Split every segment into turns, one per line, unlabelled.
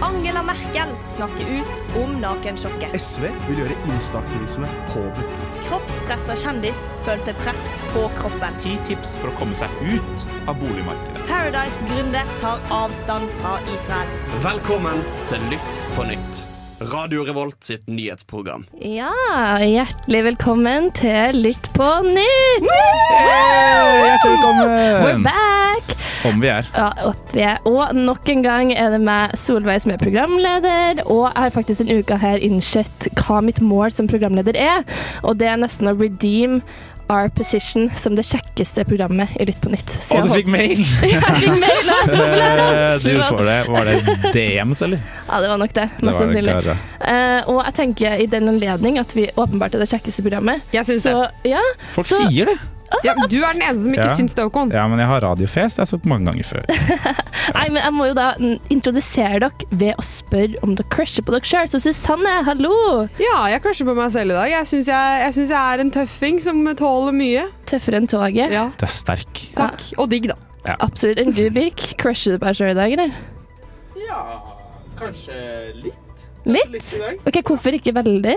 Angela Merkel snakker ut om nakensjokket.
SV vil gjøre instaktivisme påbudt.
Kroppspressa kjendis følte press på kroppen.
Ti tips for å komme seg ut av boligmarkedet.
Paradise-gründer tar avstand fra Israel.
Velkommen til Lytt på nytt. Radio Revolt sitt nyhetsprogram.
Ja, hjertelig velkommen til Lytt på nytt!
Hjertelig
We're
velkommen!
back!
Om vi er.
Ja, og vi er. Og nok en gang er det meg, Solveig, som er programleder. Og jeg har faktisk denne uka her innsett hva mitt mål som programleder er. Og det er nesten å redeem Our Position som det kjekkeste programmet i Lytt på nytt. Så
Og du
jeg
fikk mail! Eh,
håper- Jeg fikk mail! og jeg er så populær, ass!
Du får det. Var det DMs, eller?
Ja, det var nok det.
Det
Mest
var det
sannsynlig.
klare.
Eh, og jeg tenker i den anledning at vi åpenbart er det kjekkeste programmet.
Jeg syns det.
så, Ja,
Folk
Så-
sier det.
Ja, du er den eneste som ikke
Ja.
syns det, Håkon.
Ja, men jeg har radiofest. Jeg har sagt mange ganger før.
Nei, men jeg må jo da mm, introdusere dere ved å spørre om dere crusher på dere sjøl. Så Susanne, hallo!
Ja, jeg crusher på meg selv i dag. Jeg syns jeg, jeg, synes jeg er en tøffing som tåler mye.
Tøffere enn toget.
Ja,
Det er sterk.
takk. Og digg, da.
Absolutt. Enn du, Birk? Crusher du på deg sjøl i dag, eller?
Ja, kanskje litt.
Litt?
Litt i dag.
Ok, Hvorfor ikke veldig?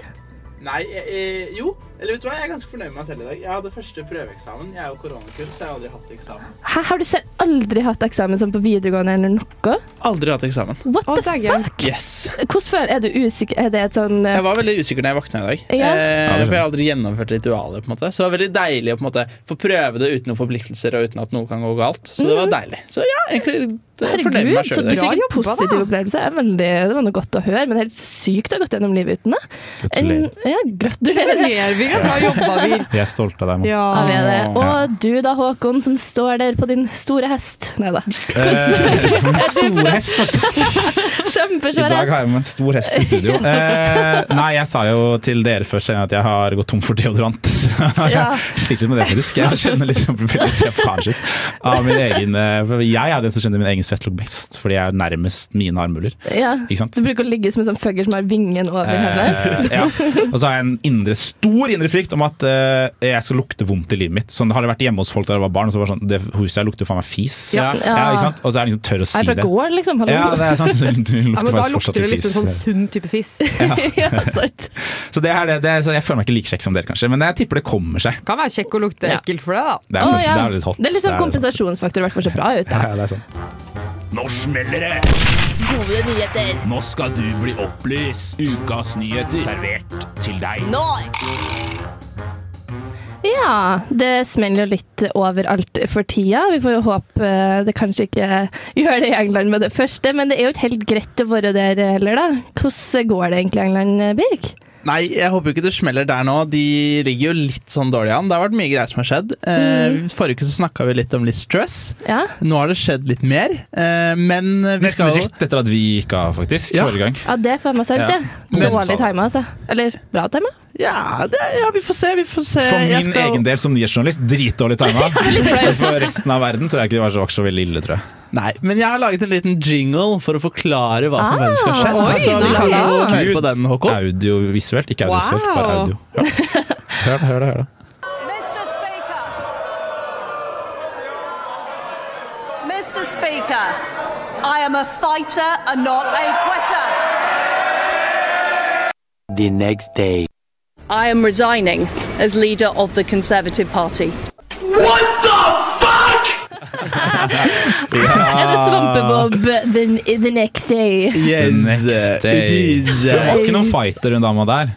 Nei, jeg, jeg, jo. Eller vet du hva, jeg er ganske fornøyd med meg selv i dag. Jeg hadde første prøveeksamen. Jeg er jo koronakull, så jeg har aldri hatt eksamen.
Hæ, har du selv aldri hatt eksamen sånn på videregående eller noe?
Aldri hatt eksamen.
What
Å,
the
dæggen.
fuck?
Yes.
Hvordan føler Er du usikker? Er det et sånn eh,
Jeg var veldig usikker når jeg våkna i dag.
Ja.
det
Eh,
skjønner
for jeg har aldri gjennomført ritualet. på en måte Så det var veldig deilig å på en måte få prøve det uten noen forpliktelser og uten at noe kan gå galt. Så det var deilig. Så ja, egentlig litt, eh, fornøyd med
Herregud,
meg
så
sjøl
du
i dag.
Bra
fikk en
jobba, da.
positiv opplevelse. Det er Veldig, det var noe godt å høre, men helt sykt å ha gått gjennom livet uten det.
Gratulerer.
En- Ja, gratulerer.
Gratulerer, Vigga. Bra jobba, Vir.
Vi er stolte av deg. Mo.
Ja.
Ja, vi er
Åh.
det. Og du da, Håkon, som står der på din store hest. Nei da.
Eh, en stor hest, faktisk. I
Kjempesvær
dag
hest.
har jeg med en stor hest i studio. Eh, nei, jeg sa jo til dere først senere at jeg har gått tom for deodorant. Så jeg
Ja.
sliter litt med det, faktisk. Jeg kjenner litt sånn veldig self-conscious av min egen eh, for Jeg er den som kjenner min egen svettlukk best, fordi jeg er nærmest mine armhuler.
Ja.
Ikke sant?
Du bruker å ligge som en sånn fugger som har vingen over hodet.
Eh, ja. Og så har jeg en indre, stor indre frykt om at eh, jeg skal lukte vondt i livet mitt. Sånn, har det vært hjemme hos folk da jeg var barn, og så var det sånn Det huset her lukter jo faen meg fis.
Ja.
ikke sant? Og så er jeg liksom tør å
Er
si
fra
det.
gården, liksom. Hallo.
Ja, det er sant. Det lukter
Ja, men da
faktisk fortsatt
lukter det
litt
liksom sånn
fis.
sunn type fiss.
Ja, sant.
Så det er det, det er, så jeg føler meg ikke like kjekk som dere, kanskje. Men jeg tipper det kommer seg.
Kan være kjekk å lukte
Ja.
ekkelt for deg, da.
Det er,
Å,
først-
ja.
det er litt sånn. hot.
Det er litt sånn
Det er sant.
kompensasjonsfaktor, i hvert fall så bra ut. da.
Ja, det er sant. Nå smeller det!
Gode nyheter
Nå skal du bli opplyst. Ukas nyheter servert til deg.
nå!
Ja, det smeller jo litt overalt for tida. Vi får jo håpe eh, det kanskje ikke gjør det i England med det første, men det er jo ikke helt greit å være der heller, da. Hvordan går det egentlig i England, eh, Birk?
Nei, jeg håper jo ikke det smeller der nå. De ligger jo litt sånn dårlig an. Det har vært mye greier som har skjedd. Eh, Forrige uke så snakka vi litt om Liz Truss.
Ja,
Nå har det skjedd litt mer, eh, men vi
Nesten
skal jo
rett etter at vi gikk av, faktisk.
Ja.
Forrige gang.
ja det er faen meg sant,
Ja.
det. Dårlig
Men-
tima, altså. Eller bra tima.
ja, det, ja, vi får se, vi får se.
For
Eh, Jeg
min
skal-
egen del som nyhetsjournalist, dritdårlig tima. Men For resten av verden tror jeg ikke det var så, var så veldig ille, tror jeg.
Nei, men jeg har laget en liten jingle for å forklare hva som
Ah,
faktisk har skjedd.
oi,
så vi
nei.
kan jo
Gud.
høre på den, Håkon.
Audiovisuelt, ikke audiovisuelt,
Wow.
bare audio. Ja. Hør det, hør det. hør det.
Mr. Speaker. Mr. Speaker, I am a fighter and not a quitter.
the next day.
I am resigning as leader of the Conservative Party.
Er det svampebob the, the next day?
Yes, uh,
Next day.
it is. uh,
For det var ikke noen fighter, hun dama der.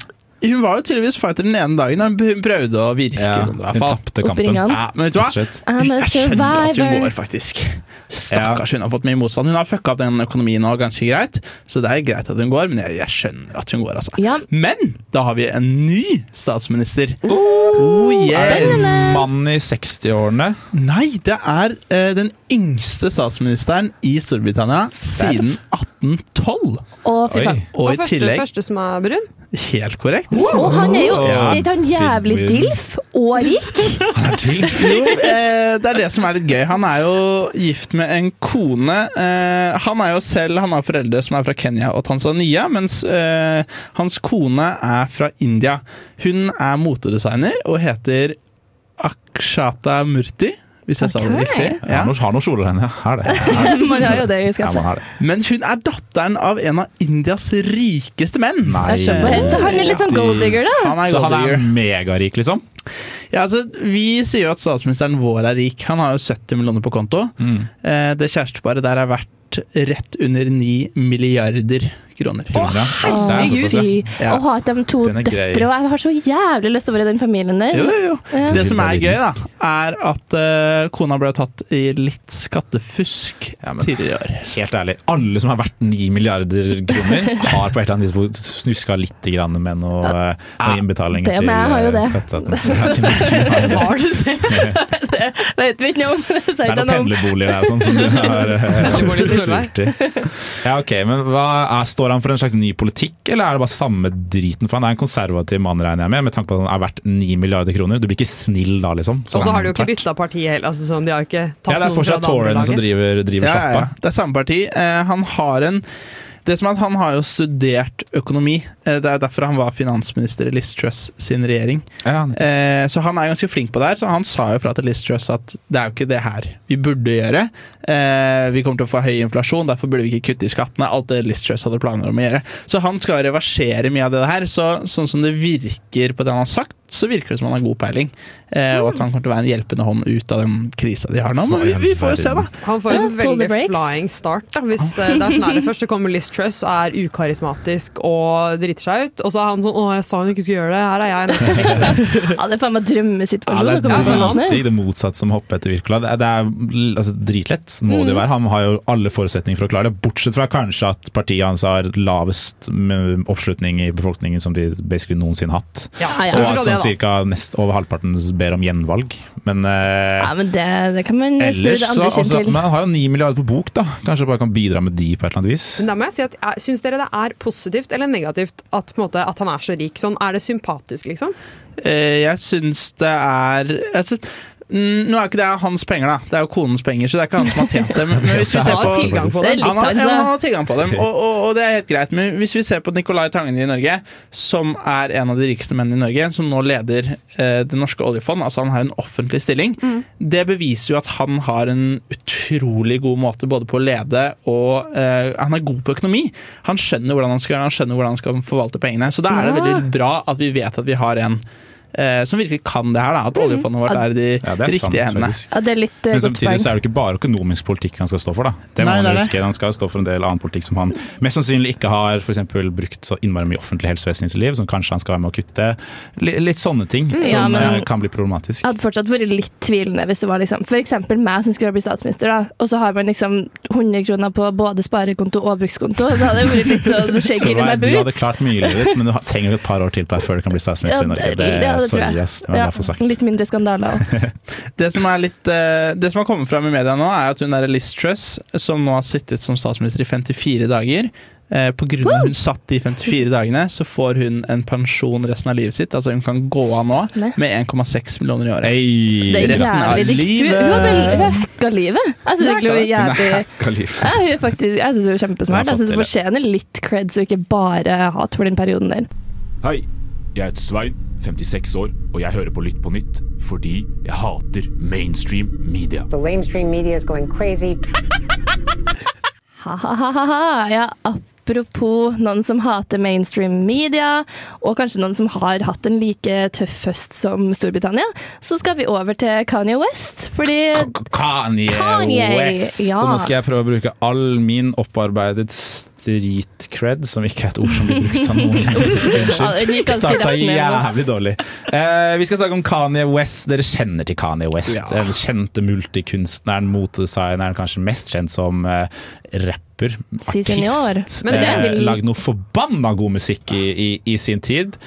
Hun var jo tydeligvis fighter den ene dagen. da Hun prøvde å virke
Ja,
sånn, i hvert
hun
fall.
tapte
Opp i
kampen.
ringene.
Ja, men vet du hva?
Rett og slett.
I'm a
Jeg skjønner at hun
survivor.
går, faktisk. Stakkars, hun har fått mye motstand. Hun har fucka opp den økonomien nå ganske greit, så det er greit at hun går, men jeg, jeg skjønner at hun går, altså.
Ja.
Men da har vi en ny statsminister. Oh, yes!
En mann i 60-årene.
Nei, det er eh, den yngste statsministeren i Storbritannia siden 1812.
Å, fy
Oi.
faen.
Og i
første,
tillegg
første som er brun.
Helt korrekt.
Og han er jo
Ja.
er ikke han jævlig dilf og rik.
Han er til.
Jo, eh, det er det som er litt gøy. Han er jo gift med en kone. Eh, han er jo selv Han har foreldre som er fra Kenya og Tanzania, mens eh, hans kone er fra India. Hun er motedesigner og heter Akshata Murti. hvis jeg sa det
Ok.
riktig.
Ja.
Ja.
Har noen- Har noen kjoler henne, ja. Er det.
Man har jo det i
Ja, man
skapet.
har det.
Men hun er datteren av en av Indias rikeste menn.
Nei.
Jeg skjønner på henne. Så han er litt sånn golddigger, da.
Han er
Så han er
golddigger.
megarik, liksom?
Ja, altså, vi sier jo at statsministeren vår er rik. Han har jo 70 millioner på konto.
Mm.
Eh, Det kjæresteparet der er verdt rett under 9 milliarder kroner.
Kroner, ja. Det er såpass, ja.
Fy.
ja.
Å ha de to
Den er grei.
døtre, og jeg har så jævlig lyst til å være i den familien der.
Jo, jo, jo.
Ja.
Det som er gøy, da, er at eh, kona ble tatt i litt skattefusk
Ja, men-
tidligere i år.
Helt ærlig, alle som har vært 9 milliarder kroner, har på et eller annet tidspunkt snuska litt grann med noe, noe innbetaling
det
til
med jeg har jo
eh,
det.
skatteetaten. Ja, til- du har jo det.
Vet vi ikke noe om, men det
Det
sier
er
jeg
noen
noe om.
pendlerboliger der og sånn som du har eh,
Så går de til Sørvei.
sult i. Ja, ok, men hva er, Står han for en slags ny politikk, eller er det bare samme driten? For han er en konservativ mann, regner jeg med, med tanke på at han er verdt 9 milliarder kroner. Du blir ikke snill da, liksom.
Og så har de jo ikke
tvert.
bytta parti heller. Altså, sånn, de har jo ikke tatt
Ja, det er
noen fra
fortsatt
det andre
Toryene som
laget.
driver, driver
Ja, ja,
sjappa.
ja. Det er samme parti. Eh, han har en det som er at Han har jo studert økonomi. Eh, Det er derfor han var finansminister i Liz Truss sin regjering.
Ja,
Eh, Så han er ganske flink på det her, så han sa jo fra til Liz Truss at det er jo ikke det her vi burde gjøre. Eh, Vi kommer til å få høy inflasjon, derfor burde vi ikke kutte i skattene. Alt det Liz Truss hadde planer om å gjøre. Så han skal reversere mye av det her. Så sånn som det virker på det han har sagt, så virker det som han har god peiling. Eh, Og at han kommer til å være en hjelpende hånd ut av den krisa de har nå. Men vi, vi får jo se, da.
Han får en
Ja, pull the
veldig
brakes.
flying start. Da, hvis eh, det er sånn her, Først så kommer Liz Truss og er ukarismatisk og driter seg ut. Og så er han sånn 'Å, jeg sa hun ikke skulle gjøre det. Her er jeg.' Nå skal jeg fikse det.»
Ja, det er faen meg
Ja, det
drømmesituasjon. å komme
er
til
Ja,
Norge.
dritdigg, det motsatte som hopper etter Wirkola. Det er, det er altså, dritlett, må det jo være. Han har jo alle forutsetninger for å klare det, bortsett fra kanskje at partiet hans har lavest mm, oppslutning i befolkningen som de basically noensinne har hatt.
Ja.
Ja, ja.
Og
Bortsett fra
at sånn
det, da.
cirka nest over halvparten ber om gjenvalg. Men eh,
Ja, men det, det kan man snu
ellers
det
så
andre kjønn
altså,
til.
Men han har jo ni milliarder på bok, da. Kanskje bare kan bidra med de på et eller annet vis.
Men da må jeg si at jeg- Syns dere det er positivt eller negativt at, på en måte, at han er så rik? Sånn, Er det sympatisk, liksom?
Eh, Jeg syns det er altså, mm, Nå er ikke det hans penger, da. Det er jo konens penger, så det er ikke han som har tjent dem. Men hvis vi
Ja,
ser
Han har
på
tilgang på
Det
det.
er litt,
han har, ja,
altså.
han har tilgang på dem, og, og, og det er helt greit. Men hvis vi ser på Nicolai Tangen i Norge, som er en av de rikeste mennene i Norge, som nå leder eh, det norske oljefond, altså han har en offentlig stilling,
Mm.
det beviser jo at han har en utrolig god måte både på å lede og eh, Han er god på økonomi. Han skjønner hvordan han skal gjøre, han skjønner hvordan han skal forvalte pengene. Så da er det
Ja.
veldig bra at vi vet at vi har en eh, som virkelig kan det her, da. At oljefondet vårt er i de
Ja, det er sant,
riktige hendene.
faktisk.
Ja, det er litt eh,
Men
godt
samtidig
poeng.
så er det ikke bare økonomisk politikk han skal stå for. da. Det må
Nei, det
man
er
huske. Han skal stå for en del annen politikk som han mest sannsynlig ikke har for eksempel, brukt så innmari mye offentlig helsevesen i sitt liv, som kanskje han skal være med å kutte. Li- Litt sånne ting som
Mm, ja, men-
eh, kan bli problematisk.
Jeg hadde fortsatt vært litt tvilende hvis det var liksom, for eksempel meg som skulle bli statsminister, da, og så har man liksom 100 kroner på både sparekonto og brukskonto. Så hadde det vært litt sånn
Så
shaky
du
in my
er- du hadde
boots.
klart mye i livet ditt, men du har- trenger jo et par år til på deg før du kan bli
Ja,
statsminister i Norge.
det-
Det,
ja, det tror
sorry,
jeg.
ass. Det må jeg
Ja,
bare få sagt.
litt mindre skandaler òg.
Det som, er litt, eh, det som har kommet fram i media nå, er at hun der Liz Truss, som nå har sittet som statsminister i 54 dager eh, På grunn av at hun satt de 54 dagene, så får hun en pensjon resten av livet sitt. Altså hun kan gå av nå med 1,6 millioner i året.
Hey,
Det er
resten av
jævlig digg. Hun- Hun har vel- hun har hacka livet. Jeg syns egentlig hun er
Hun er
jævlig
hacka liv.
Ja, hun er faktisk, jeg syns hun er kjempesmart.
Hun har
Jeg
fått
synes Hun fortjener litt creds og ikke bare hat for den perioden der.
Hei, jeg heter Svein, 56 år, og jeg hører på Lytt på nytt fordi jeg hater mainstream media.
The lamestream media is going crazy.
Ha-ha-ha-ha. Ja, apropos noen som hater mainstream media, og kanskje noen som har hatt en like tøff høst som Storbritannia, så skal vi over til Kanye West, fordi
Kanye,
Kanye,
West.
ja.
Og nå skal jeg prøve å bruke all min opparbeidet street cred, som ikke er et ord som blir brukt av noen.
Ja, den
Unnskyld.
gikk ganske
Starta
rett ned nå.
jævlig dårlig. Eh, vi skal snakke om Kanye West. Dere kjenner til Kanye West.
Ja.
Den kjente multikunstneren, motedesigneren, kanskje mest kjent som eh, rapper.
Si senor.
Artist.
Men det er
Eh,
vel-
Lagd noe forbanna god musikk i, i, i sin tid.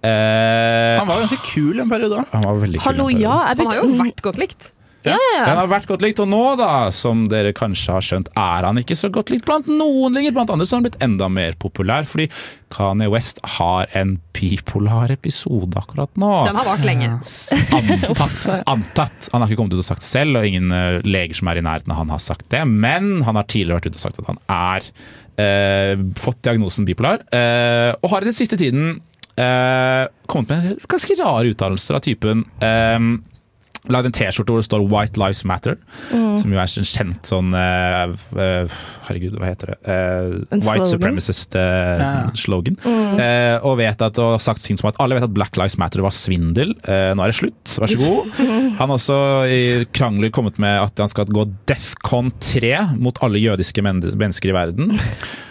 Eh,
Han var ganske kul en periode òg.
han var veldig kul.
Hallo,
den perioden.
ja. Jeg
Han har jo
begynte-
vært godt likt.
Den har vært godt likt, og nå da, som dere kanskje har skjønt, er han ikke så godt likt blant noen lenger. Blant andre så har han blitt enda mer populær, fordi Kanye West har en bipolar episode akkurat nå.
Den har vart lenge.
Antatt, antatt. Han har ikke kommet ut og sagt det selv, og ingen eh, leger som er i nærheten av han har sagt det. Men han har tidligere vært ute og sagt at han er eh, fått diagnosen bipolar, eh, og har i den siste tiden eh, kommet med ganske rare uttalelser av typen eh, lagd en T-skjorte hvor det står 'White Lives Matter',
Mm.
som jo er en kjent sånn eh, eh, Herregud, hva heter det? Eh,
En
white
slogan?
Ja.
supremacist-slogan. Eh, og vet at, og sagt ting som at alle vet at Black Lives Matter var svindel. Eh, nå er det slutt, vær så god. Han har også i krangler kommet med at han skal gå Defcon 3 mot alle jødiske men mennesker i verden.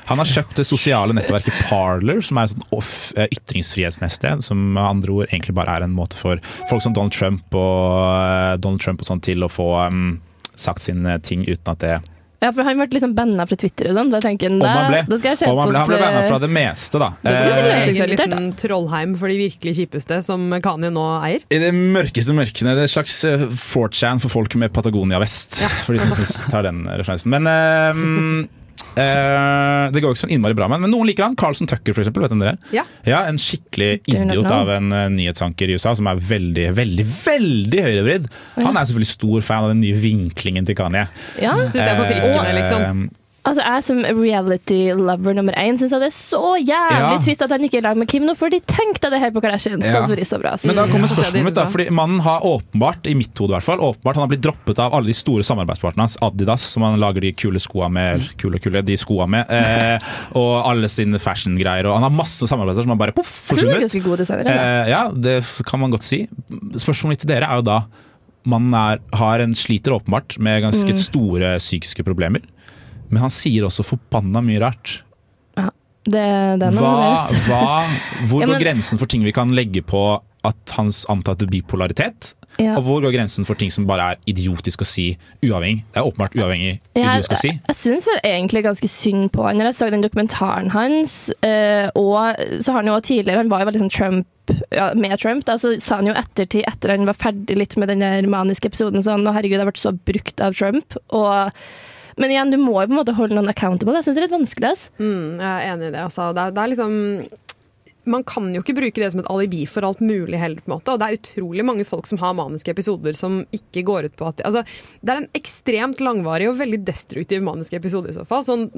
Han har kjøpt det sosiale nettverket Parler, som er et sånt off- eh, ytringsfrihetsnettsted, som med andre ord egentlig bare er en måte for folk som Donald Trump og, eh, Donald Trump og sånn til å få um, sagt sine ting uten at det
Ja, for han ble liksom banna fra Twitter og sånn. Da tenker han
Om
da,
han ble,
da skal jeg
om
kjenne
han ble, han ble banna fra
på
det meste, da.
Det
Eh,
skal du
er
gjøre.
egentlig en
irritert, da.
liten trollheim for de virkelig kjipeste som Kanye nå eier.
I det mørkeste mørkene. Det er et slags eh, 4chan for folk med Patagonia-vest. For de som synes- tar den referansen. Men eh, eh, Det går jo ikke så innmari bra med han, men noen liker han. Carlson Tucker, for eksempel. Vet du hvem det er?
Ja.
En skikkelig
Do not
idiot
know.
av en eh, nyhetsanker i USA som er veldig, veldig veldig høyrevridd.
ja.
Han er selvfølgelig stor fan av den nye vinklingen til Kanye.
det. Ja,
Syns det er forfriskende, liksom.
Eh,
altså Jeg som reality-lover nummer én syns det er så jævlig
Ja.
trist at han ikke er i lag med Kim nå, for de tenkte det her på Kardashian.
Ja.
Ja. Så bra, ass.
Men da kommer
Ja.
spørsmålet mitt, da. Fordi mannen har åpenbart, i mitt hode i hvert fall, åpenbart, han har blitt droppet av alle de store samarbeidspartnerne hans. Adidas, som han lager de kule skoa med, eller kule og kule, de skoa med. Eh, og alle sine fashion-greier. Og han har masse samarbeider som han bare poff,
jeg synes han er
forsvunnet.
ganske god designer. han, da.
Eh, ja, det kan man godt si. Spørsmålet mitt til dere er jo da Mannen er, har en sliter åpenbart med ganske store psykiske problemer. Men han sier også forbanna mye rart.
Det, det altså. er noe
Hva,
annerledes.
hva, hvor
Ja,
går
men-
grensen for ting vi kan legge på at hans antatte bipolaritet?
Ja.
Og hvor går grensen for ting som bare er idiotisk å si uavhengig? Det er åpenbart uavhengig idiotisk å si.
jeg syns vel egentlig ganske synd på han. Når jeg så den dokumentaren hans, eh, og så har han jo også tidligere Han var jo veldig sånn Trump ja, med Trump, da, så sa han jo ettertid, etter han var ferdig litt med den der maniske episoden, sånn Å, herregud, jeg ble så brukt av Trump. Og men igjen, du må jo på en måte holde noen accountable. Jeg syns det er litt vanskelig. altså. ass.
Mm, jeg er enig i det. Altså. Det, er, det er liksom man kan jo ikke bruke det som et alibi for alt mulig heller. på en måte, og Det er utrolig mange folk som har maniske episoder som ikke går ut på at altså, Det er en ekstremt langvarig og veldig destruktiv manisk episode i så fall. Sånn,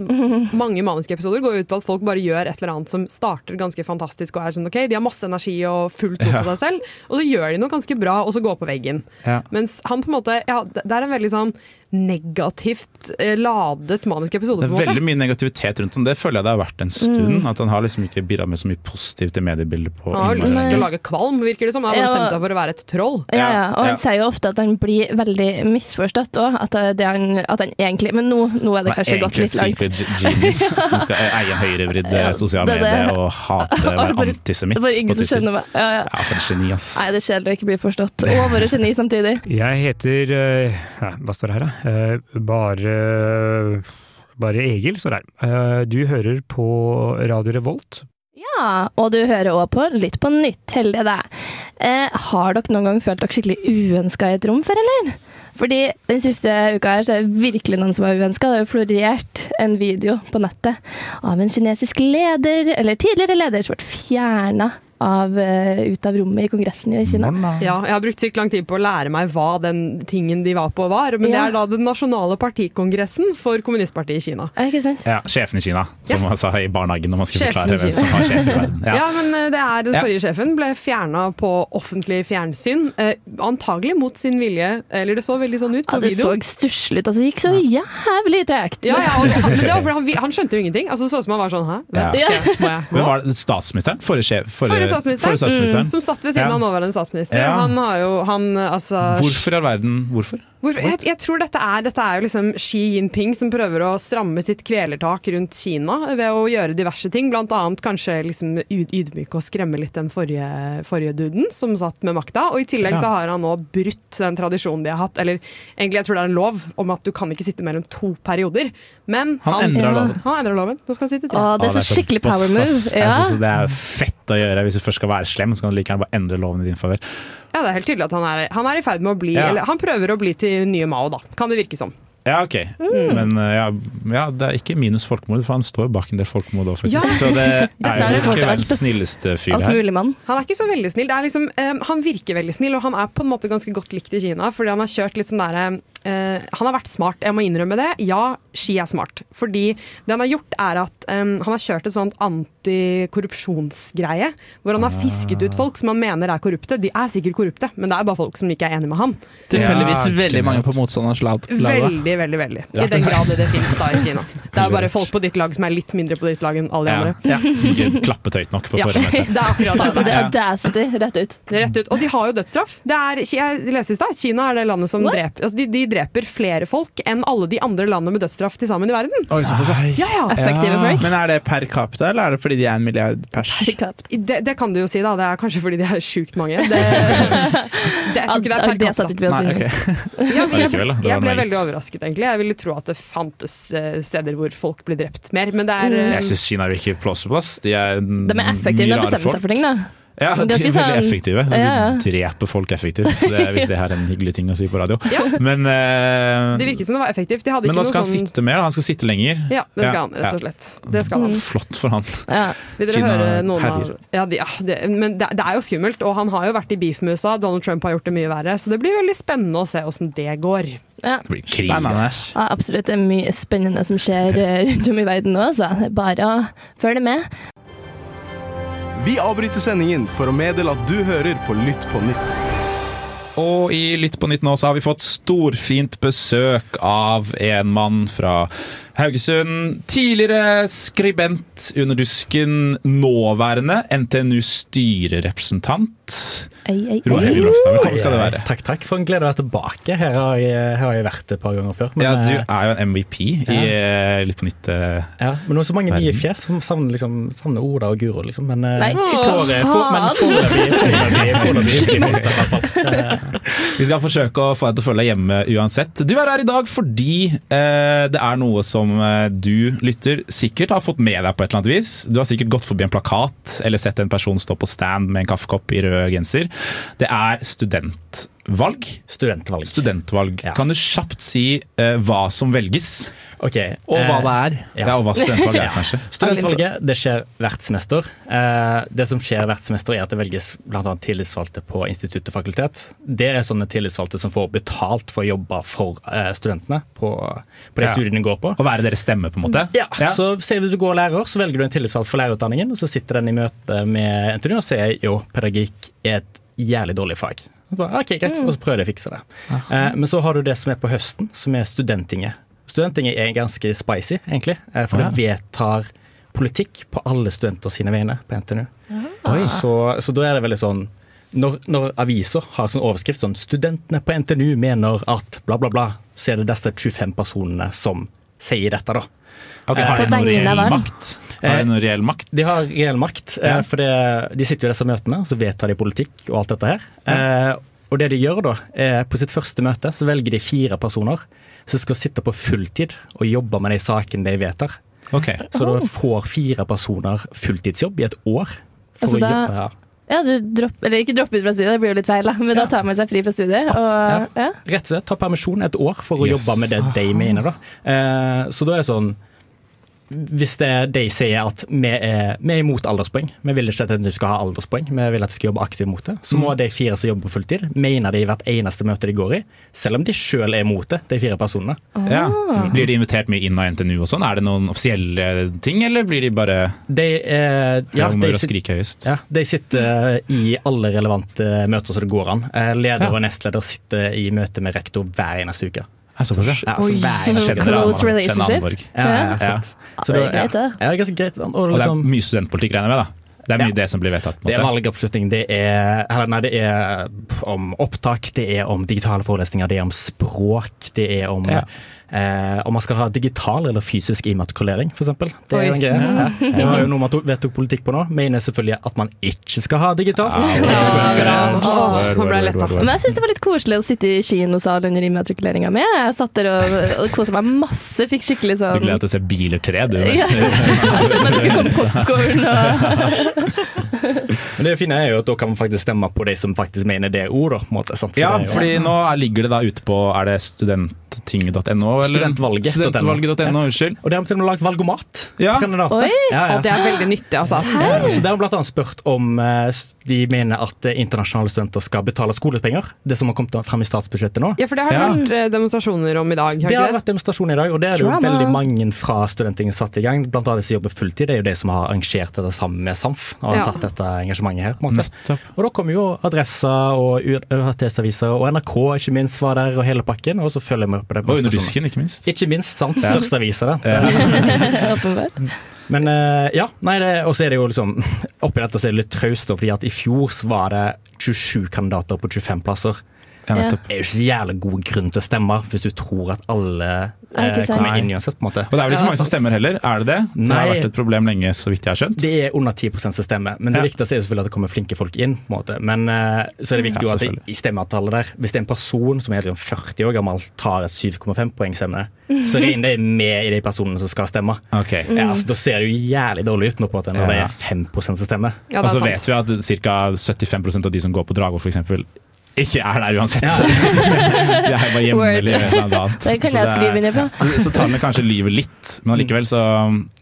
mange maniske episoder går ut på at folk bare gjør et eller annet som starter ganske fantastisk og er sånn ok, de har masse energi og full tro på seg selv, og så gjør de noe ganske bra, og så går på veggen.
Ja.
Mens han på en måte ja, Det det er en veldig sånn negativt eh, ladet manisk episode.
Det
på en
er
måte.
veldig mye negativitet rundt ham. Det føler jeg det har vært en stund.
Mm.
At han har liksom ikke bidratt med så mye positivt i mediebildet. på
Han har jo
innmari
lyst til
lenge.
å lage kvalm, virker det som. Han har
Ja.
bestemt seg for å være et troll.
Ja, ja. Og han
Ja.
sier jo ofte at han blir veldig misforstått òg. At, det han- at han egentlig Men nå, nå er det
Han er
kanskje gått
egentlig
litt
en
langt.
secret genius som skal e- eie en høyrevridd eh, sosiale
det er det.
medier og hate å
Bare-
være
bare
antisemitt.
Det var ingen
på
som
Twitter.
skjønner meg. Ja, ja.
Ja, for et geni, ass.
Nei, det er kjedelig å ikke bli forstått. Og være geni samtidig.
Jeg heter eh, ja, Hva står det her, da? Eh, Bare Bare Egil står det her. Eh, Du hører på Radio Revolt.
Ja, og du hører òg på Litt på nytt, heldige deg. Eh, har dere noen gang følt dere skikkelig uønska i et rom før, eller? Fordi den siste uka her så er det virkelig noen som er uønska. Det har jo florert en video på nettet av en kinesisk leder, eller tidligere leder, som ble fjerna ut av rommet i Kongressen i Kina.
Ja, jeg har brukt sykt lang tid på å lære meg hva den tingen de var på, var. Men det
Ja.
er da den nasjonale partikongressen for kommunistpartiet i Kina.
Er det ikke sant?
Ja, sjefen i Kina, som han sa i barnehagen når man skulle forklare
Sjefen i
hvem
Kina.
som har sjef i verden.
Ja, men eh, det er Den
Ja.
forrige sjefen ble fjerna på offentlig fjernsyn. Eh, antagelig mot sin vilje, eller det så veldig sånn ut
Ja,
på
det så
videoen.
stusslig ut. Altså, det gikk så jævlig tregt.
Ja, ja, og det, men det var fordi han, vi- han skjønte jo ingenting. Altså, det så ut som han var sånn Hæ?
Ja.
Vent, skal jeg- må jeg-
Hvem var det? Statsministeren? Forrige, sjef, forrige,
Forrige statsminister.
forrige statsministeren.
Som satt ved siden
Ja.
av nåværende statsminister.
Ja.
Han har jo han, eh, altså,
Hvorfor i all verden? Hvorfor?
Hvorfor, jeg, jeg tror dette er, dette er jo liksom Xi Jinping som prøver å stramme sitt kvelertak rundt Kina ved å gjøre diverse ting, bl.a. kanskje liksom yd- ydmyke og skremme litt den forrige, forrige duden som satt med makta. Og i tillegg så har han nå brutt den tradisjonen de har hatt, eller egentlig jeg tror det er en lov om at du kan ikke sitte mer enn to perioder. Men
Han endrer
Ja.
loven.
han endrer loven. Nå skal han sitte
Å,
tre.
det er
Å,
så skikkelig
boss,
power
ass.
move.
sånn Jeg
Ja.
synes det er fett å gjøre. Hvis du først skal være slem, så kan du like gjerne bare endre loven i din favør.
Ja, det er helt tydelig at han er, han er i ferd med å bli
Ja.
Eller han prøver å bli til nye Mao, da. Kan det virke som.
Ja, ok. Men eh, ja, ja, det er ikke minus folkemord, for han står bak en del folkemord òg, faktisk.
Ja.
Så det
er
er jo
jo
ikke
alt-
verdens snilleste fyr
Alt
her.
mulig, mann.
Han er ikke så veldig snill. Det er liksom, eh, han virker veldig snill, og han er på en måte ganske godt likt i Kina. Fordi han har kjørt litt sånn derre eh, Han har vært smart, jeg må innrømme det. Ja, Xi er smart. Fordi det han har gjort, er at eh, han har kjørt et sånt antikorrupsjonsgreie. Hvor han har fisket ut folk som han mener er korrupte. De er sikkert korrupte, men det er bare folk som ikke er enig med han.
Ja,
Tilfeldigvis veldig
genialt.
mange på motstanderens lag.
Veldig, veldig, veldig. I den grad det fins da i Kina. Det er jo bare folk på ditt lag som er litt mindre på ditt lag enn alle de
Ja,
andre.
ja. Som ikke klappet høyt nok på
Ja,
forrige møte.
det er akkurat det.
Det er audacity rett ut.
Det er Rett ut. Og de har jo dødsstraff. Det er, jeg leste i stad, Kina er det landet som
What?
dreper altså de, de dreper flere folk enn alle de andre landene med dødsstraff til sammen i verden.
Oi, såpass, ja.
Ja, ja.
Effektive folk.
Men er det per capita, eller er det fordi de er en milliard pers?
Herregud.
Det, det kan du jo si, da. Det er kanskje fordi de er sjukt mange. Det, det, jeg tror ikke det er per
Det
capita.
satte vi oss
Nei,
inn i.
ok.
Ja, men jeg,
Allikevel, da. Det var
jeg ble
naivt.
veldig overrasket, egentlig. Jeg ville tro at det fantes eh, steder hvor folk ble drept mer, men det er eh,
Jeg syns Kina virker plausible. ass. De er
Um, De er
mye
effektive når de
rare
bestemmer seg
folk.
for ting, da.
Ja, de
Det er
er
ikke
veldig
sånn-
effektive.
Ja, ja.
De dreper folk effektivt, så det, hvis det her er en hyggelig ting å si på radio.
Ja.
Men, eh,
Det virket som det var effektivt. De hadde
men
ikke
nå
noe
skal han
sånn
sitte mer, da. han skal sitte lenger.
Ja, det skal
Ja,
han, rett
ja.
og slett. Det skal han.
Flott for han.
Ja.
Vil dere
Kina
høre noen av
herjer.
ja, de, ja, det, Men det, det er jo skummelt, og han har jo vært i beef med USA. Donald Trump har gjort det mye verre, så det blir veldig spennende å se åssen det går.
Ja.
Det blir krig,
Spennende.
ass.
Ja, absolutt. Det er mye spennende som skjer eh, rundt om i verden nå, så det er bare å følge med.
Vi avbryter sendingen for å meddele at du hører på Lytt på nytt.
Og i Lytt på nytt nå så har vi fått storfint besøk av en mann fra Haugesund. Tidligere skribent under dusken, nåværende NTNU-styrerepresentant.
Ei, ei,
Roar Helge
ei.
Brogstad, velkommen skal du være.
Takk, takk. For en glede å være tilbake. Her har jeg, her har jeg vært et par ganger før. Men,
Ja, du
eh,
er jo en MVP i eh, Lytt på nytt. eh,
ja, men nå er så mange nye
Verden.
fjes som savner, liksom, savner Oda og Guro, liksom. Men, eh,
Nei,
får- eh, får- men
faen!
foreløpig foreløpig- foreløpig blir det ofte, i hvert fall.
Vi skal forsøke å få deg til å følge deg hjemme uansett. Du er her i dag fordi eh, det er noe som eh, du lytter sikkert har fått med deg på et eller annet vis. Du har sikkert gått forbi en plakat eller sett en person stå på stand med en kaffekopp i rød genser. Det er studentvalg.
Studentvalg.
Studentvalg.
Ja.
Kan du kjapt si eh, hva som velges?
Ok,
Og hva
eh,
det er.
Ja.
Ja, og hva studentvalg er, kanskje.
Studentvalget det skjer hvert semester. Eh, Det som skjer hvert semester er at det velges bl.a. tillitsvalgte på institutt og fakultet. Det er sånne tillitsvalgte som får betalt for å jobbe for eh, studentene på, på de
Ja.
studiene de går på.
Å være deres stemme, på en måte?
Ja, så sier vi at du går lærer, så velger du en tillitsvalgt for lærerutdanningen, og så sitter den i møte med NTNU og sier jo, pedagogikk er et jævlig dårlig fag. Og så, bare, "Ah, ok, greit, og så prøver de å fikse det. Eh, men så har du det som er på høsten, som er studentinget. Studentinget er ganske spicy, egentlig, eh, for
Ja.
det vedtar politikk på alle studenter sine vegne på NTNU.
Oi.
Så, så da er det veldig sånn når, når aviser har sånn overskrift sånn 'Studentene på NTNU mener at bla, bla, bla', så er det disse 25 personene som sier dette, da.
Ok, har
På
de noen
vegne av
reell
verden.
makt? Har de noen reell makt?
De har reell makt, eh,
Ja.
for det, de sitter jo i disse møtene, så vedtar de politikk og alt dette her. Eh, Og det de gjør da, er på sitt første møte så velger de fire personer som skal sitte på fulltid og jobbe med de sakene de vedtar.
Ok.
Så da får fire personer fulltidsjobb i et år. For
Altså,
å
da-
jobbe,
Ja, du dropp, eller ikke dropp ut fra studiet, det blir jo litt feil, da. men da tar man seg fri fra studiet. Og, ja.
Rett og slett ta permisjon et år for å
Yes.
jobbe med det de mener. Da. Eh, Så da er det sånn hvis det er de sier at vi er, vi er imot alderspoeng, vi vil ikke at du skal ha alderspoeng, vi vil at du skal jobbe aktivt mot det, så
Mm.
må de fire som jobber på fulltid, mene det i hvert eneste møte de går i, selv om de sjøl er imot det, de fire personene.
Ja.
Ah.
Blir de invitert mye inn av NTNU og sånn? Er det noen offisielle ting, eller blir de bare
De, eh, ja,
humør
de,
og
sit,
skrike høyest?
ja, de sitter Eh, i alle relevante møter som det går an. Eh, Leder og nestleder sitter i møte med rektor hver eneste uke.
Ja, såpass, ja.
Ja, så hver
sånn
eneste uke.
Kjenner
Close
Anne- kjenner
relationship.
Anneborg.
Ja, ja,
Ja.
sant. Så
det er
da- ja.
greit, det.
Ja, det er ganske greit. Og,
Og det er
liksom,
mye studentpolitikk, regner jeg med? da Det er mye
Ja.
det som blir vedtatt? på
det er
en måte.
valgoppslutning, det er eller Nei, det er om opptak, det er om digitale forelesninger, det er om språk, det er om
Ja.
eh, om man skal ha digital eller fysisk immatrikulering, f.eks. Det er
Oi.
jo en greie. Ja. Det var jo noe man tok, vedtok politikk på nå. Mener selvfølgelig at man ikke skal ha digitalt. Jeg skulle ønske det.
Åh, nå ble jeg letta.
Men jeg syns det var litt koselig å sitte i kinosal under immatrikuleringa mi. Jeg satt der og, og kosa meg masse. Fikk skikkelig
Du
sånn
gleder deg til å se Biler 3, du.
Ja. altså, Men det skulle komme popkorn og
Men det fine er jo at da kan man faktisk stemme på de som faktisk mener det er ord, da. på en måte, sant? Så
Ja,
det er jo-
fordi nå er- ligger det da ute på Er det student... studentting.no. eller-
Studentvalget.no.
Studentvalget.no, unnskyld.
Og de har til og med laget valgomat.
Ja.
for kandidater.
Oi,
Ja, ja.
og det er veldig nyttig, altså.
Ja, så Der har blant annet spurt om eh, s- de mener at eh, internasjonale studenter skal betale skolepenger. Det som har kommet frem i statsbudsjettet nå.
Ja, for det har det vært eh, demonstrasjoner om i dag.
Det har vært demonstrasjon i dag, og det er det jo
Drama.
veldig mange fra studentingen satt i gang. Blant annet de som jobber fulltid, det er jo de som har arrangert dette sammen med SAMF. Og har
Ja.
tatt dette engasjementet her. på en måte. Og da kom jo Adresser og UHTS-aviser, og NRK ikke minst var der, og hele pakken. Og så følger vi med på det.
Og Under Dusken, ikke minst. Eh,
Ikke minst, sant.
Ja.
Største aviser, det.
Åpenbart.
Men eh, ja, nei, det- og så er det jo liksom Oppi dette så er det litt traust, da, fordi at i fjor så var det 27 kandidater på 25 plasser.
Ja, nettopp.
Det er jo ikke så jævlig god grunn til å stemme hvis du tror at alle
Ja, ikke
eh,
sant.
kommer inn uansett. på en måte.
Og det er vel ikke så mange som stemmer heller, er det det? Det har
Nei.
vært et problem lenge, så vidt jeg har skjønt.
Det er under 10 som stemmer, men det viktigste er jo selvfølgelig at det kommer flinke folk inn. på en måte. Men eh, så er det
Mm. Ja,
viktig jo at det,
selvfølgelig.
i stemmeavtalen der, hvis det er en person som er rundt 40 år gammel, tar et 7,5 poengs emne, så regner det med i de personene som skal stemme.
Ok.
Ja, altså, da ser det jo jævlig dårlig ut nå på en måte,
Ja.
når det er 5 som stemmer.
og så Altså, vet vi at ca. 75 av de som går på Dragvoll, f.eks. Ikke er der uansett. De er bare hjemme
Word.
eller et eller annet.
Det kan
Så
jeg
er-
skrive ned på.
Så, så tar vi kanskje livet litt, men allikevel så,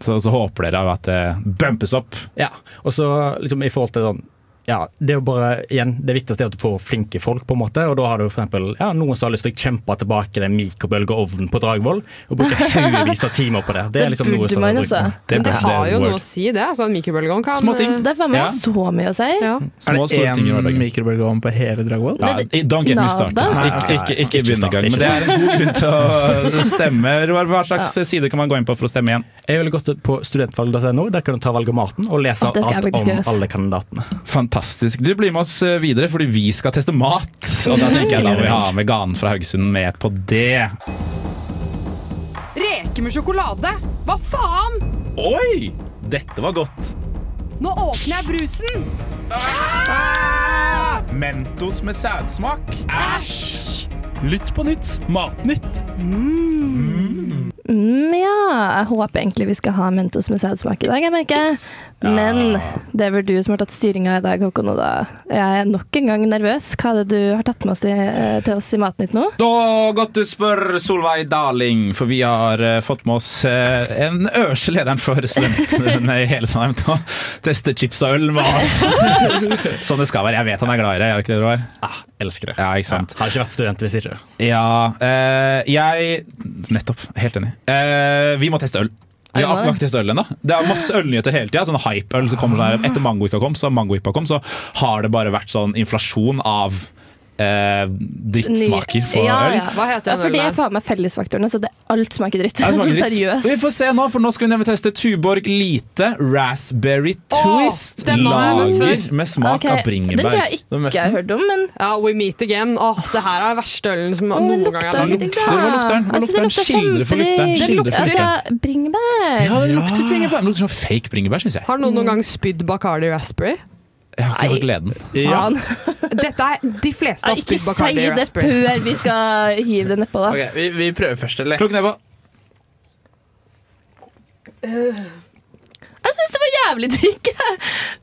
så, så håper dere at det bumpes opp.
Ja, og så liksom i forhold til sånn ja, Det er jo bare, igjen, det viktigste er at du får flinke folk, på en måte, og da har du for eksempel, ja, noen som har lyst til å kjempe tilbake den mikrobølgeovnen på Dragvoll, og bruke haugevis av timer på det. Det er liksom noe som er brukt.
uh,
Det, Men det
burde-
har jo
work.
noe å si, det. Altså, en mikrobølgeovn kan eh,
Det er faen meg
Ja.
så mye å si.
Små,
er
store
det
ting i
én
hverdagen.
mikrobølgeovn på hele Dragvoll?
Ja, don't get me started.
Nada.
Ikke, ikke, ikke,
Ikke
begynn i gang. Men det er en god grunn til å stemme. Roar, Hva slags side kan man gå inn på for å stemme igjen?
Jeg ville gått på studentvalg.no, der kan du ta valgomaten og lese
Å, det skal jeg
alt
faktisk
om
gjøre, ass.
alle kandidatene.
Fantastisk. Du blir med oss eh, videre, fordi vi skal teste mat. Og da tenker jeg da må vi ha med Ganen fra Haugesund med på det.
Reker med sjokolade! Hva faen?
Oi! Dette var godt.
Nå åpner jeg brusen!
Mentos med sædsmak. Æsj! Lytt på nytt. Matnytt.
Mm, ja, jeg håper egentlig vi skal ha Mentos med sædsmak i dag, jeg merker. Men det er vel du som har tatt styringa i dag, Håkon, og da er jeg nok en gang nervøs. Hva er det du har tatt med oss i, eh, til oss i Matnytt nå?
Da Godt du spør, Solveig Daling, for vi har eh, fått med oss eh, en øverste lederen for studentene i hele Trondheim til å teste chips og øl med oss. Som det skal være. Jeg vet han er glad i det, er det ikke det, Roar?
Ah, elsker det.
Ja, ikke sant?
Hadde ikke vært student hvis ikke.
Ja, eh, jeg Nettopp. Helt enig. Eh, vi må teste øl. Vi har, vi har ikke testet øl ennå. Det er masse ølnyheter hele tida. Sånn hypeøl som kommer sånn her. Etter mangoipa kom, så har mangoipa kom, så har det bare vært sånn inflasjon av eh, drittsmaker på
ja,
øl.
ja.
Hva heter
Ja,
den
for det er
ølen?
faen meg fellesfaktorene, så det alt smaker dritt.
Det smaker dritt.
Seriøst.
Vi får se nå, for nå skal vi nemlig teste Tuborg Lite Raspberry Twist.
den har jeg møtt
Lager med smak
Ok,
av bringebær.
Den tror jeg
Da møtte
ikke jeg har hørt om, men
Ja, We Meet Again. Åh, det her er den verste ølen som
Å,
noen
den
gang jeg har
lukter
drukket.
litt bra.
Hva lukter den? Hva
Jeg synes
lukter
den
den?
lukter
Skildre for lykteren,
kjempedigg.
skildre for
Altså, bringebær.
Ja, det lukter bringebær. Det lukter sånn fake bringebær, syns jeg.
Har noen noen gang spydd Bacardi Raspberry?
Jeg har ikke fått gleden.
Faen.
Dette er De fleste
Nei,
har
Ikke
spydd
si
Bacardi
det
Raspberry.
før vi skal hive det nedpå, da.
Ok, vi, vi prøver først, eller?
Klokk nedpå.
Sånn Jeg syns det var jævlig digg. jeg.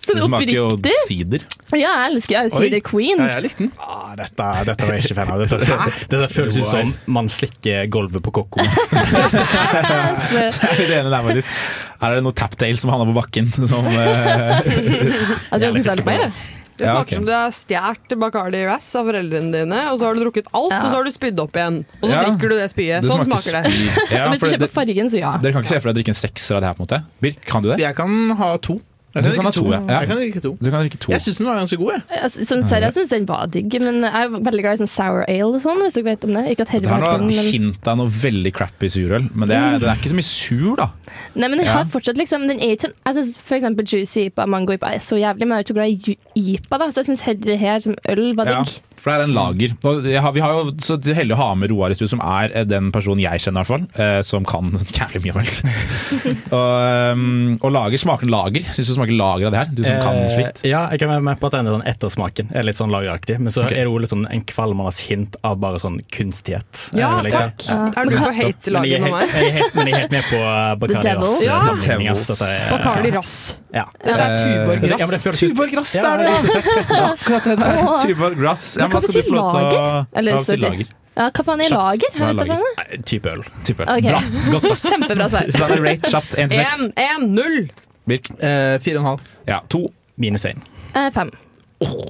Sånn
Det smaker jo
oppriktig.
sider.
Ja, jeg elsker jeg er jo Cider Queen.
Ja, jeg likte den.
Ah, dette, dette var jeg ikke fan av. Dette, dette, dette føles ut som man slikker gulvet på kokko.
Jeg er litt enig der, faktisk. Her er det noe Taptail som havna på bakken. Som, eh,
Altså, Jeg tror jeg syns det er litt mer. jeg.
Det
ja,
smaker
ok.
som du har stjålet Bacardi Ras av foreldrene dine, og så har du drukket alt,
Ja.
og så har du spydd opp igjen. Og så
Ja.
drikker du det spyet. Sånn smaker, det.
spy. Ja,
Hvis du
for
ser på
det,
fargen, så ja.
dere kan ikke se for dere å drikke en sekser av det her, på en måte? Birk, kan du det?
Jeg kan ha to. Jeg
Du kan ha
drikke
to, ja. Ja.
Jeg kan drikke to.
Du kan drikke to.
Jeg syns den var ganske god, jeg.
Jeg sy- Sånn seriøst, jeg syns den var digg, men jeg er veldig glad i sånn sour ale og sånn, hvis dere vet om det. Ikke
Det
at Herre
er
har hørt om
noe
den, men
hint av noe veldig crappy surøl, men det er, det er ikke så mye sur, da.
Nei, men den
Ja.
har fortsatt liksom Den er ikke sånn Jeg syns f.eks. juicy ipa, mango ipa er så jævlig, men jeg er ikke så glad i ju- ipa, da, så jeg syns heller det her som øl var
Ja,
digg.
for det er en lager. Og jeg har, vi har jo så heldig å ha med Roar i studio, som er eh, den personen jeg kjenner, i hvert fall, eh, som kan jævlig mye om øl. og, um, og lager smaker lager. Syns du det smaker lager av det her? Du som kan slikt.
Eh, ja, jeg kan være med på at den er sånn ettersmaken er litt sånn lageraktig. Men så
Ok.
er det jo litt sånn en kvalmende hint av bare sånn kunstighet.
Ja,
eh, vil jeg si.
takk. Er du på hate-laget med
Men jeg
meg?
er helt- jeg er helt- Men jeg er helt med på eh, Bacardi
devil.
Ras.
Ja.
sammenligning, ass. Dette er-
Bacardi Ras.
Ja.
Dette
Eh,
er Tuborg
Ja, men
Ras.
det føles ut-
Rass
Ja,
Akkurat det der. Tuborg Rass. Ja, men
Men
da skal
hva
du
betyr
få lov til å
lager? Eller,
Ja, hva betyr
sorry.
lager?
Jeg Ja, hva faen er
Kjapt.
lager?
Hva er
Jeg vet da
lager?
faen, jeg.
Type øl.
Type.
Ok.
Bra. Godt sagt.
Kjempebra svar.
Så da er det rate kjapt 1 til 6.
1-0!
Birk.
Eh, Fire og en halv.
Ja, 2
Minus én.
Eh, Fem.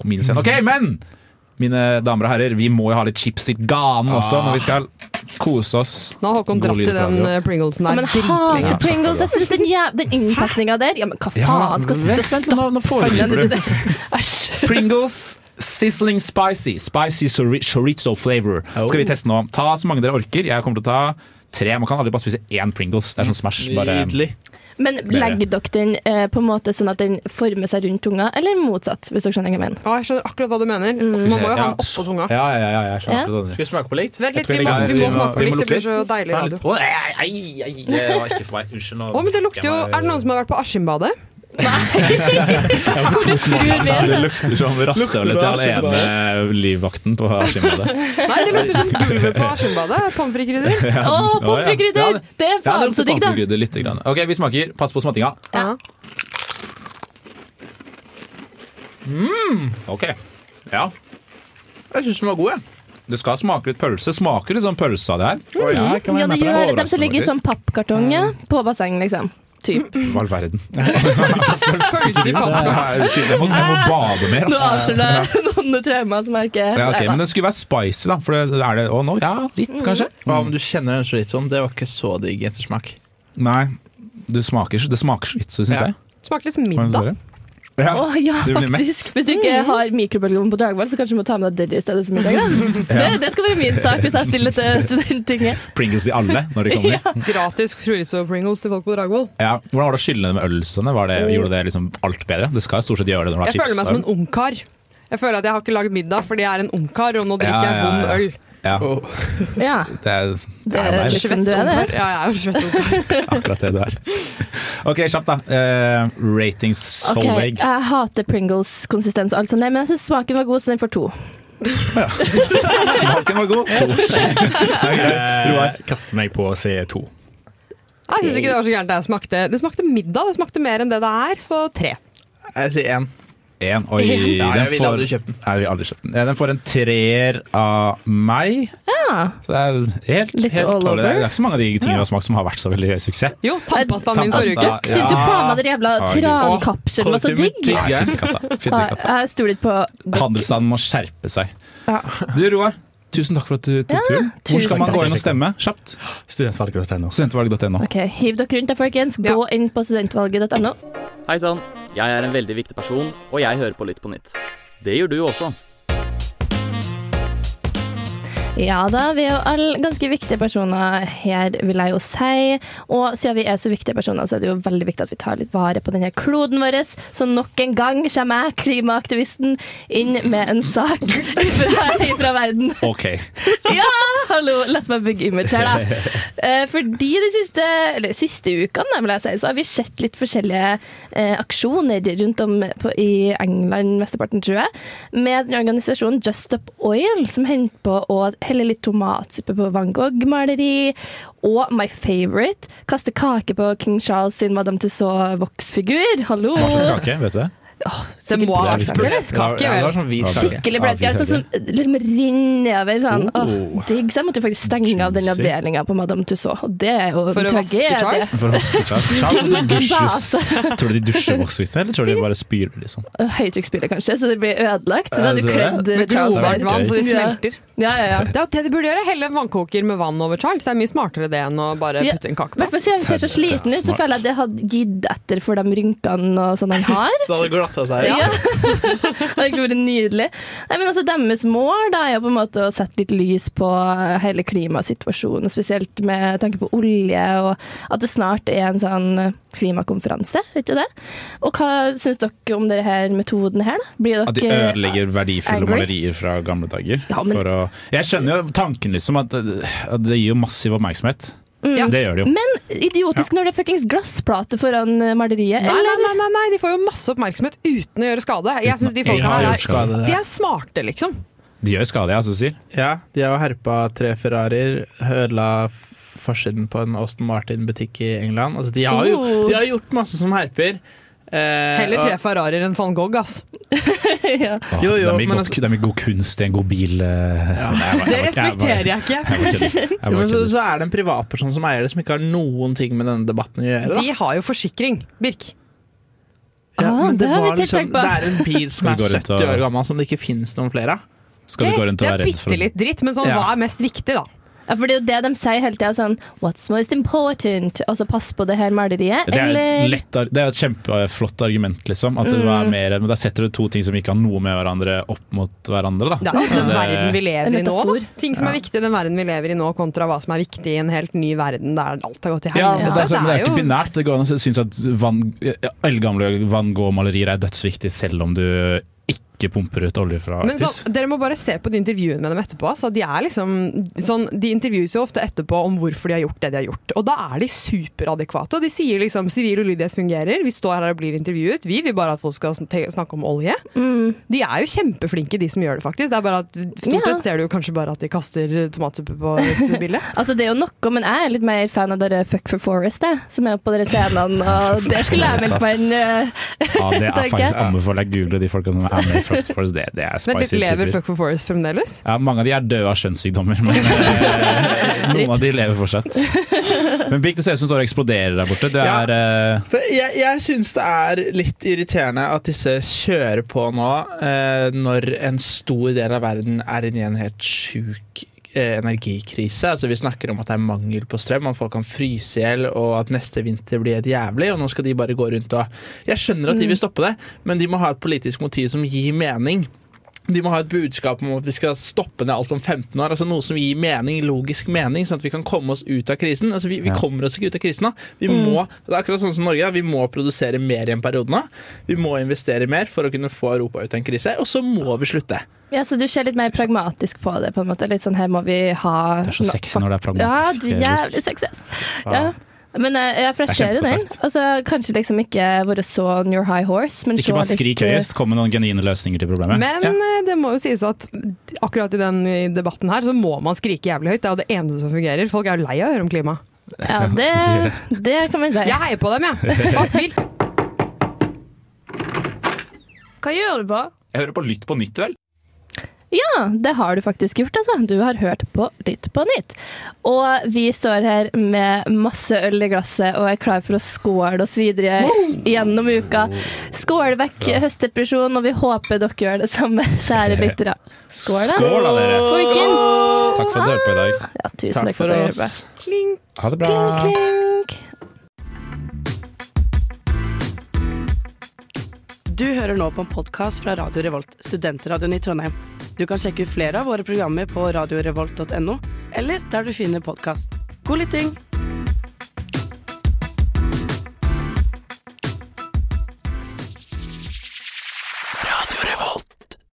minus 1. Ok, men mine damer og herrer, vi må jo ha litt chips i ganen også når vi skal kose oss.
Nå har Håkon
God
dratt
lyd
i
på
den
radio.
eh, Pringlesen
Ja,
her
men hater
dritlenge.
Pringles. Jeg synes den, jæv- den innpakninga der Ja, men hva faen? Skal sitte og
vent, nå, nå foregriper du.
stappe Æsj.
Pringles sizzling spicy. Spicy chori- chorizo flavor. Skal vi teste nå. Ta så mange dere orker. Jeg kommer til å ta tre. Man kan aldri bare spise én Pringles. Det er sånn Smash. Bare
Nydelig.
Men legger dere den eh, på en måte sånn at den former seg rundt tunga, eller motsatt? Hvis dere skjønner hva jeg mener.
Ja, jeg skjønner akkurat hva du mener.
Mm.
Man må jo ha
Ja.
den oppå tunga.
Ja, ja, ja. ja, jeg skjønner hva du mener.
Skal vi smake på likt?
Vent litt, vi
Jeg
må,
tror jeg
vi må
legger-
smake på
vi må
litt, det
lukke
blir så deilig
Ta litt-
radio.
Å, ei, ei, ei, ei, Det var ikke for meg. Unnskyld. nå-
Å, men det lukter jo Er det noen som har vært på Askimbadet?
Det lukter som rasshølet til han ene livvakten på Skimbadet.
Nei, det lukter som gulvet på Askimbadet. Pommes frites-krydder.
Å, pommes
Ja,
frites! krydder!
det-
Det er
Ja, det
faen så
lukter
digg, da.
pannefugryte lite grann. Ok, vi smaker. Pass på smattinga.
Ja.
Ok. Ja.
Jeg syns den var god, jeg.
Det skal smake litt pølse. Smaker litt sånn pølse av det her.
Ja,
Ja,
det gjør det. De som
Overraskende,
ligger i sånn pappkartong ja, på bassenget, liksom. Typ.
Hva all verden? Jeg må, jeg må bade mer,
Nå
altså.
avslører jeg noen traumer som jeg ikke
Ja, ok, men det skulle være spicy, da. For det, er det Å, nå? Ja, litt,
Mm.
kanskje?
Hva om du kjenner den så litt sånn? Det var ikke så digg ettersmak.
Nei. Du smaker, det smaker så vidt, syns
Ja.
jeg.
Smaker litt
Hva er det du
middag.
sier? Ja.
Å ja,
Du blir mett.
faktisk. Hvis du Mm. ikke har mikrobølgeovn på dagvalg, så kanskje du må ta med deg dere i stedet som middag. da. Det, det skal være min sak hvis jeg stiller til studenttinget.
Pringles i alle når de kommer. Ja.
Gratis chorizo Pringles til folk på Dragvoll.
Hvordan var det å skylle det med øl? Sånn? Var
Oh.
det, gjorde det liksom alt bedre? Det skal jo stort sett gjøre det når du har
Jeg
chips.
føler meg som en ungkar. Jeg føler at jeg har ikke lagd middag fordi jeg er en ungkar, og nå
Ja,
drikker jeg
ja, ja.
vond øl.
ja,
Oh. Ja,
det er,
det er
deg.
litt som du er, det.
Ungkar? Ja, jeg er jo svett ungkar.
akkurat det du er. Ok, kjapt, da. Eh, ratings
Ok,
Solveig.
Jeg hater Pringles-konsistens og alt sånt, der, men jeg syns smaken var god, så den får to.
Smaken var god. To. Roar.
Jeg eh, kaster meg på å si to.
Jeg syns ikke det var så gærent. Det smakte, det smakte middag. Det smakte mer enn det det er, så tre.
Jeg sier én.
En, oi,
Ja,
den
jeg ville
får-
aldri kjøpt den.
Nei, jeg ville aldri kjøpt den. Eh, Den får en treer av meg.
Ja.
Så det er helt,
Litt
helt klar.
all
Det er-
over.
det er ikke så mange av de tingene vi har smakt som har vært så veldig suksess.
Jo,
Eh,
tannpastaen min forrige uke.
Tannpasta.
Dere syns jo
Ja.
faen meg den jævla
Herregud.
trankapselen var så digg.
Nei, fytti katta. Fytti
Nei,
katta.
Jeg stoler ikke på
Handelsstanden må skjerpe seg.
Ja.
Du Roar, tusen takk for at du tok turen. Hvor skal
tusen
man
takk.
gå inn og stemme? Kjapt.
Studentvalg.no.
Studentvalg.no.
Ok, Hiv dere rundt da, folkens. Gå inn på studentvalget.no.
Hei sann, jeg er en veldig viktig person, og jeg hører på Lytt på nytt. Det gjør du også.
Ja da, vi er jo alle ganske viktige personer her, vil jeg jo si. Og siden vi er så viktige personer, så er det jo veldig viktig at vi tar litt vare på denne kloden vår. Så nok en gang kommer jeg, klimaaktivisten, inn med en sak fra, fra verden.
Ok.
Ja, hallo, la meg bygge image her, da. Eh, Fordi de siste, eller, siste ukene, da, vil jeg si, så har vi sett litt forskjellige eh, aksjoner rundt om på, i England, mesteparten, tror jeg, med den organisasjonen Just Up Oil, som henter på å helle litt tomatsuppe på Van Gogh-maleri, og my favorite, kaste kake på King Charles sin Madame Tussauds-voksfigur. Hallo!
Hva slags kake, vet du det?
Det må ha vært
Ja,
bløtkake,
det var
vel.
sånn hvit kake.
Skikkelig bløt. Ja, sånn som liksom renner nedover. Sånn. Åh, digg. Så jeg måtte jo faktisk stenge av den
Juicy.
avdelinga på Madame Tussauds. Og det er jo en
For å vaske
tragedie.
Charles?
For å vaske Charles. Charles, må du dusjes. Tror du de dusjer voksvitene, eller tror du de bare spyr? liksom?
Høytrykksspyler, kanskje, så det blir ødelagt. Så
Ja,
da
jeg tror
hadde du kledd
det.
eh,
Med
Charles
grovvarmt
der.
glovarmt vann, så de
Ja.
smelter.
Ja, ja, ja.
Det er jo det de burde gjøre. Helle en vannkoker med vann over Charles. Det er mye smartere det enn å bare
Ja.
putte en
I
kake på.
hvert fall siden han ser så sliten ut, så
Smart.
føler jeg at det hadde gitt etter for de rynkene og sånn han har.
Det hadde glatta seg.
Ja. det hadde ikke vært nydelig. Nei, men altså, Deres mål da, er jo på en måte å sette litt lys på eh, hele klimasituasjonen, og spesielt med tanke på olje, og at det snart er en sånn klimakonferanse. Vet du det? Og hva syns dere om denne her metoden her? da? Blir dere
At de ødelegger verdifulle
angry?
malerier fra gamle dager.
Ja, men-
for å, jeg skjønner jo tanken, liksom, at, at det gir jo massiv oppmerksomhet. Det gjør det jo.
Men Mm. idiotisk når det er fuckings glassplate foran eh, maleriet,
Nei, nei,
eller?
nei, nei, nei, de får jo masse oppmerksomhet uten å gjøre skade. Jeg syns de
Jeg
folka
har
her
gjort
er
skade.
De er smarte, liksom.
De gjør skade, jeg, altså, som du sier.
Ja, de har jo herpa tre Ferrarier, ødela f- forsiden på en Austin Martin-butikk i England. Altså, de har jo
Oh.
de har gjort masse som herper. Eh,
Eh,
Heller tre Ferrarier enn van Gogh, ass.
ja.
Ah,
Jo, jo,
det, er mye
men
godt, det er mye god kunst i en god bil. eh, sånn. Jeg var-
Det
jeg var-
respekterer jeg
Jeg var
ikke.
kødder. Jeg
Ja,
var
men så,
kødder.
så er det en privatperson som eier det, som ikke har noen ting med denne debatten å gjøre. Da.
De har jo forsikring, Birk.
Ja,
Ah,
men det,
det har vi
var
ikke
liksom,
tenkt på.
det er en bil som
Skal
er
vi gå rundt
70
og-
år gammel, som det ikke finnes noen flere av.
Skal du gå rundt og
det
være
er
redd for
bitte litt dritt, men sånn,
Ja.
hva er mest riktig, da?
Ja, for det er jo det de sier hele tida. Sånn, What's most important? Altså, pass på det her maleriet,
Det er, et
eller
lett, ar- det er et kjempeflott argument, liksom. At det var
Mm.
mer, men Der setter du to ting som ikke har noe med hverandre, opp mot hverandre. Da.
Det er jo den
Det-
verden vi
En
lever i nå.
metafor.
Da. Ting som er viktig i den verden vi lever i nå, kontra hva som er viktig i en helt ny verden der alt har gått til
Ja, men
helvete.
det, er, sånn, det er ikke
jo-
binært. Det går an å synes at van, eldgamle Van Gogh-malerier er dødsviktig, selv om du ikke pumper ut olje fra
Men
Arktis.
sånn, dere må bare se på de intervjuene med dem etterpå. ass. At de, er liksom, sånn, de intervjues jo ofte etterpå om hvorfor de har gjort det de har gjort. Og da er de superadekvate. Og de sier liksom sivil ulydighet fungerer, vi står her og blir intervjuet. Vi vil bare at folk skal sn- te- snakke om olje.
Mm.
De er jo kjempeflinke, de som gjør det, faktisk. Det er bare at
Ja.
Stort sett ser du jo kanskje bare at de kaster tomatsuppe på et bilde.
Altså, det er jo noe, men jeg er litt mer fan av dere Fuck for Forest, jeg, som er på dere scenene. Og der skulle jeg meldt meg inn. eh.
Ja, det er
tenker
faktisk
jeg.
anbefaler jeg google de folka som er med i Flux Force. Det, det er
Men de
spicy
lever
typer.
Fuck for Forest fremdeles?
Ja, mange av de er døde av skjønnssykdommer, men eh, noen av de lever fortsatt. Men Big, det ser ut som du står og eksploderer der borte. Det
Ja.
er eh,
For jeg jeg syns det er litt irriterende at disse kjører på nå, eh, når en stor del av verden er inne i en helt sjuk eh, energikrise. Altså Vi snakker om at det er mangel på strøm, at folk kan fryse i hjel, og at neste vinter blir helt jævlig, og nå skal de bare gå rundt og Jeg skjønner
Mm.
at de vil stoppe det, men de må ha et politisk motiv som gir mening. De må ha et budskap om at vi skal stoppe ned alt om 15 år. altså Noe som gir mening, logisk mening, sånn at vi kan komme oss ut av krisen. altså Vi, vi
Ja.
kommer oss ikke ut av krisen nå. Vi
Mm.
må, det er akkurat sånn som Norge. Da. Vi må produsere mer i en periode nå. Vi må investere mer for å kunne få Europa ut av en krise. Og så må vi slutte.
Ja, så du ser litt mer pragmatisk på det, på en måte. Litt sånn her må vi ha
det er så
nok-
sexy når det er
Ja, du
pragmatisk. eh,
er jævlig sexy. ass. Ja. Men eh, jeg
Det er
fraserer den.
kjempesagt.
Altså, kanskje liksom ikke være så on your high horse, men
Ikke
så
bare
litt- eh,
skrik høyest, kom med noen genuine løsninger til problemet.
Men eh, det må jo sies at akkurat i den eh, debatten her, så må man skrike jævlig høyt. Det er jo det eneste som fungerer. Folk er jo lei av å høre om klima.
Ja, det, det kan man si.
Jeg heier på dem, jeg. Fuck bil.
Hva gjør du på?
Jeg hører på Lytt på nytt, vel?
Ja, det har du faktisk gjort, altså. Du har hørt på Lytt på nytt. Og vi står her med masse øl i glasset og er klar for å skåle oss videre gjennom uka. Skål vekk høstdepresjon, og vi håper dere gjør det samme, kjære lyttere. Skål, da.
Skål da, dere!
Folkens!
Takk for at du hørte på i dag.
Ja, tusen
Takk
takk
for
for at dere
oss.
Klink.
Ha det bra.
Klink.
Du hører nå på en podkast fra Radio Revolt, studentradioen i Trondheim. Du kan sjekke ut flere av våre programmer på radiorevolt.no, eller der du finner podkast. God lytting!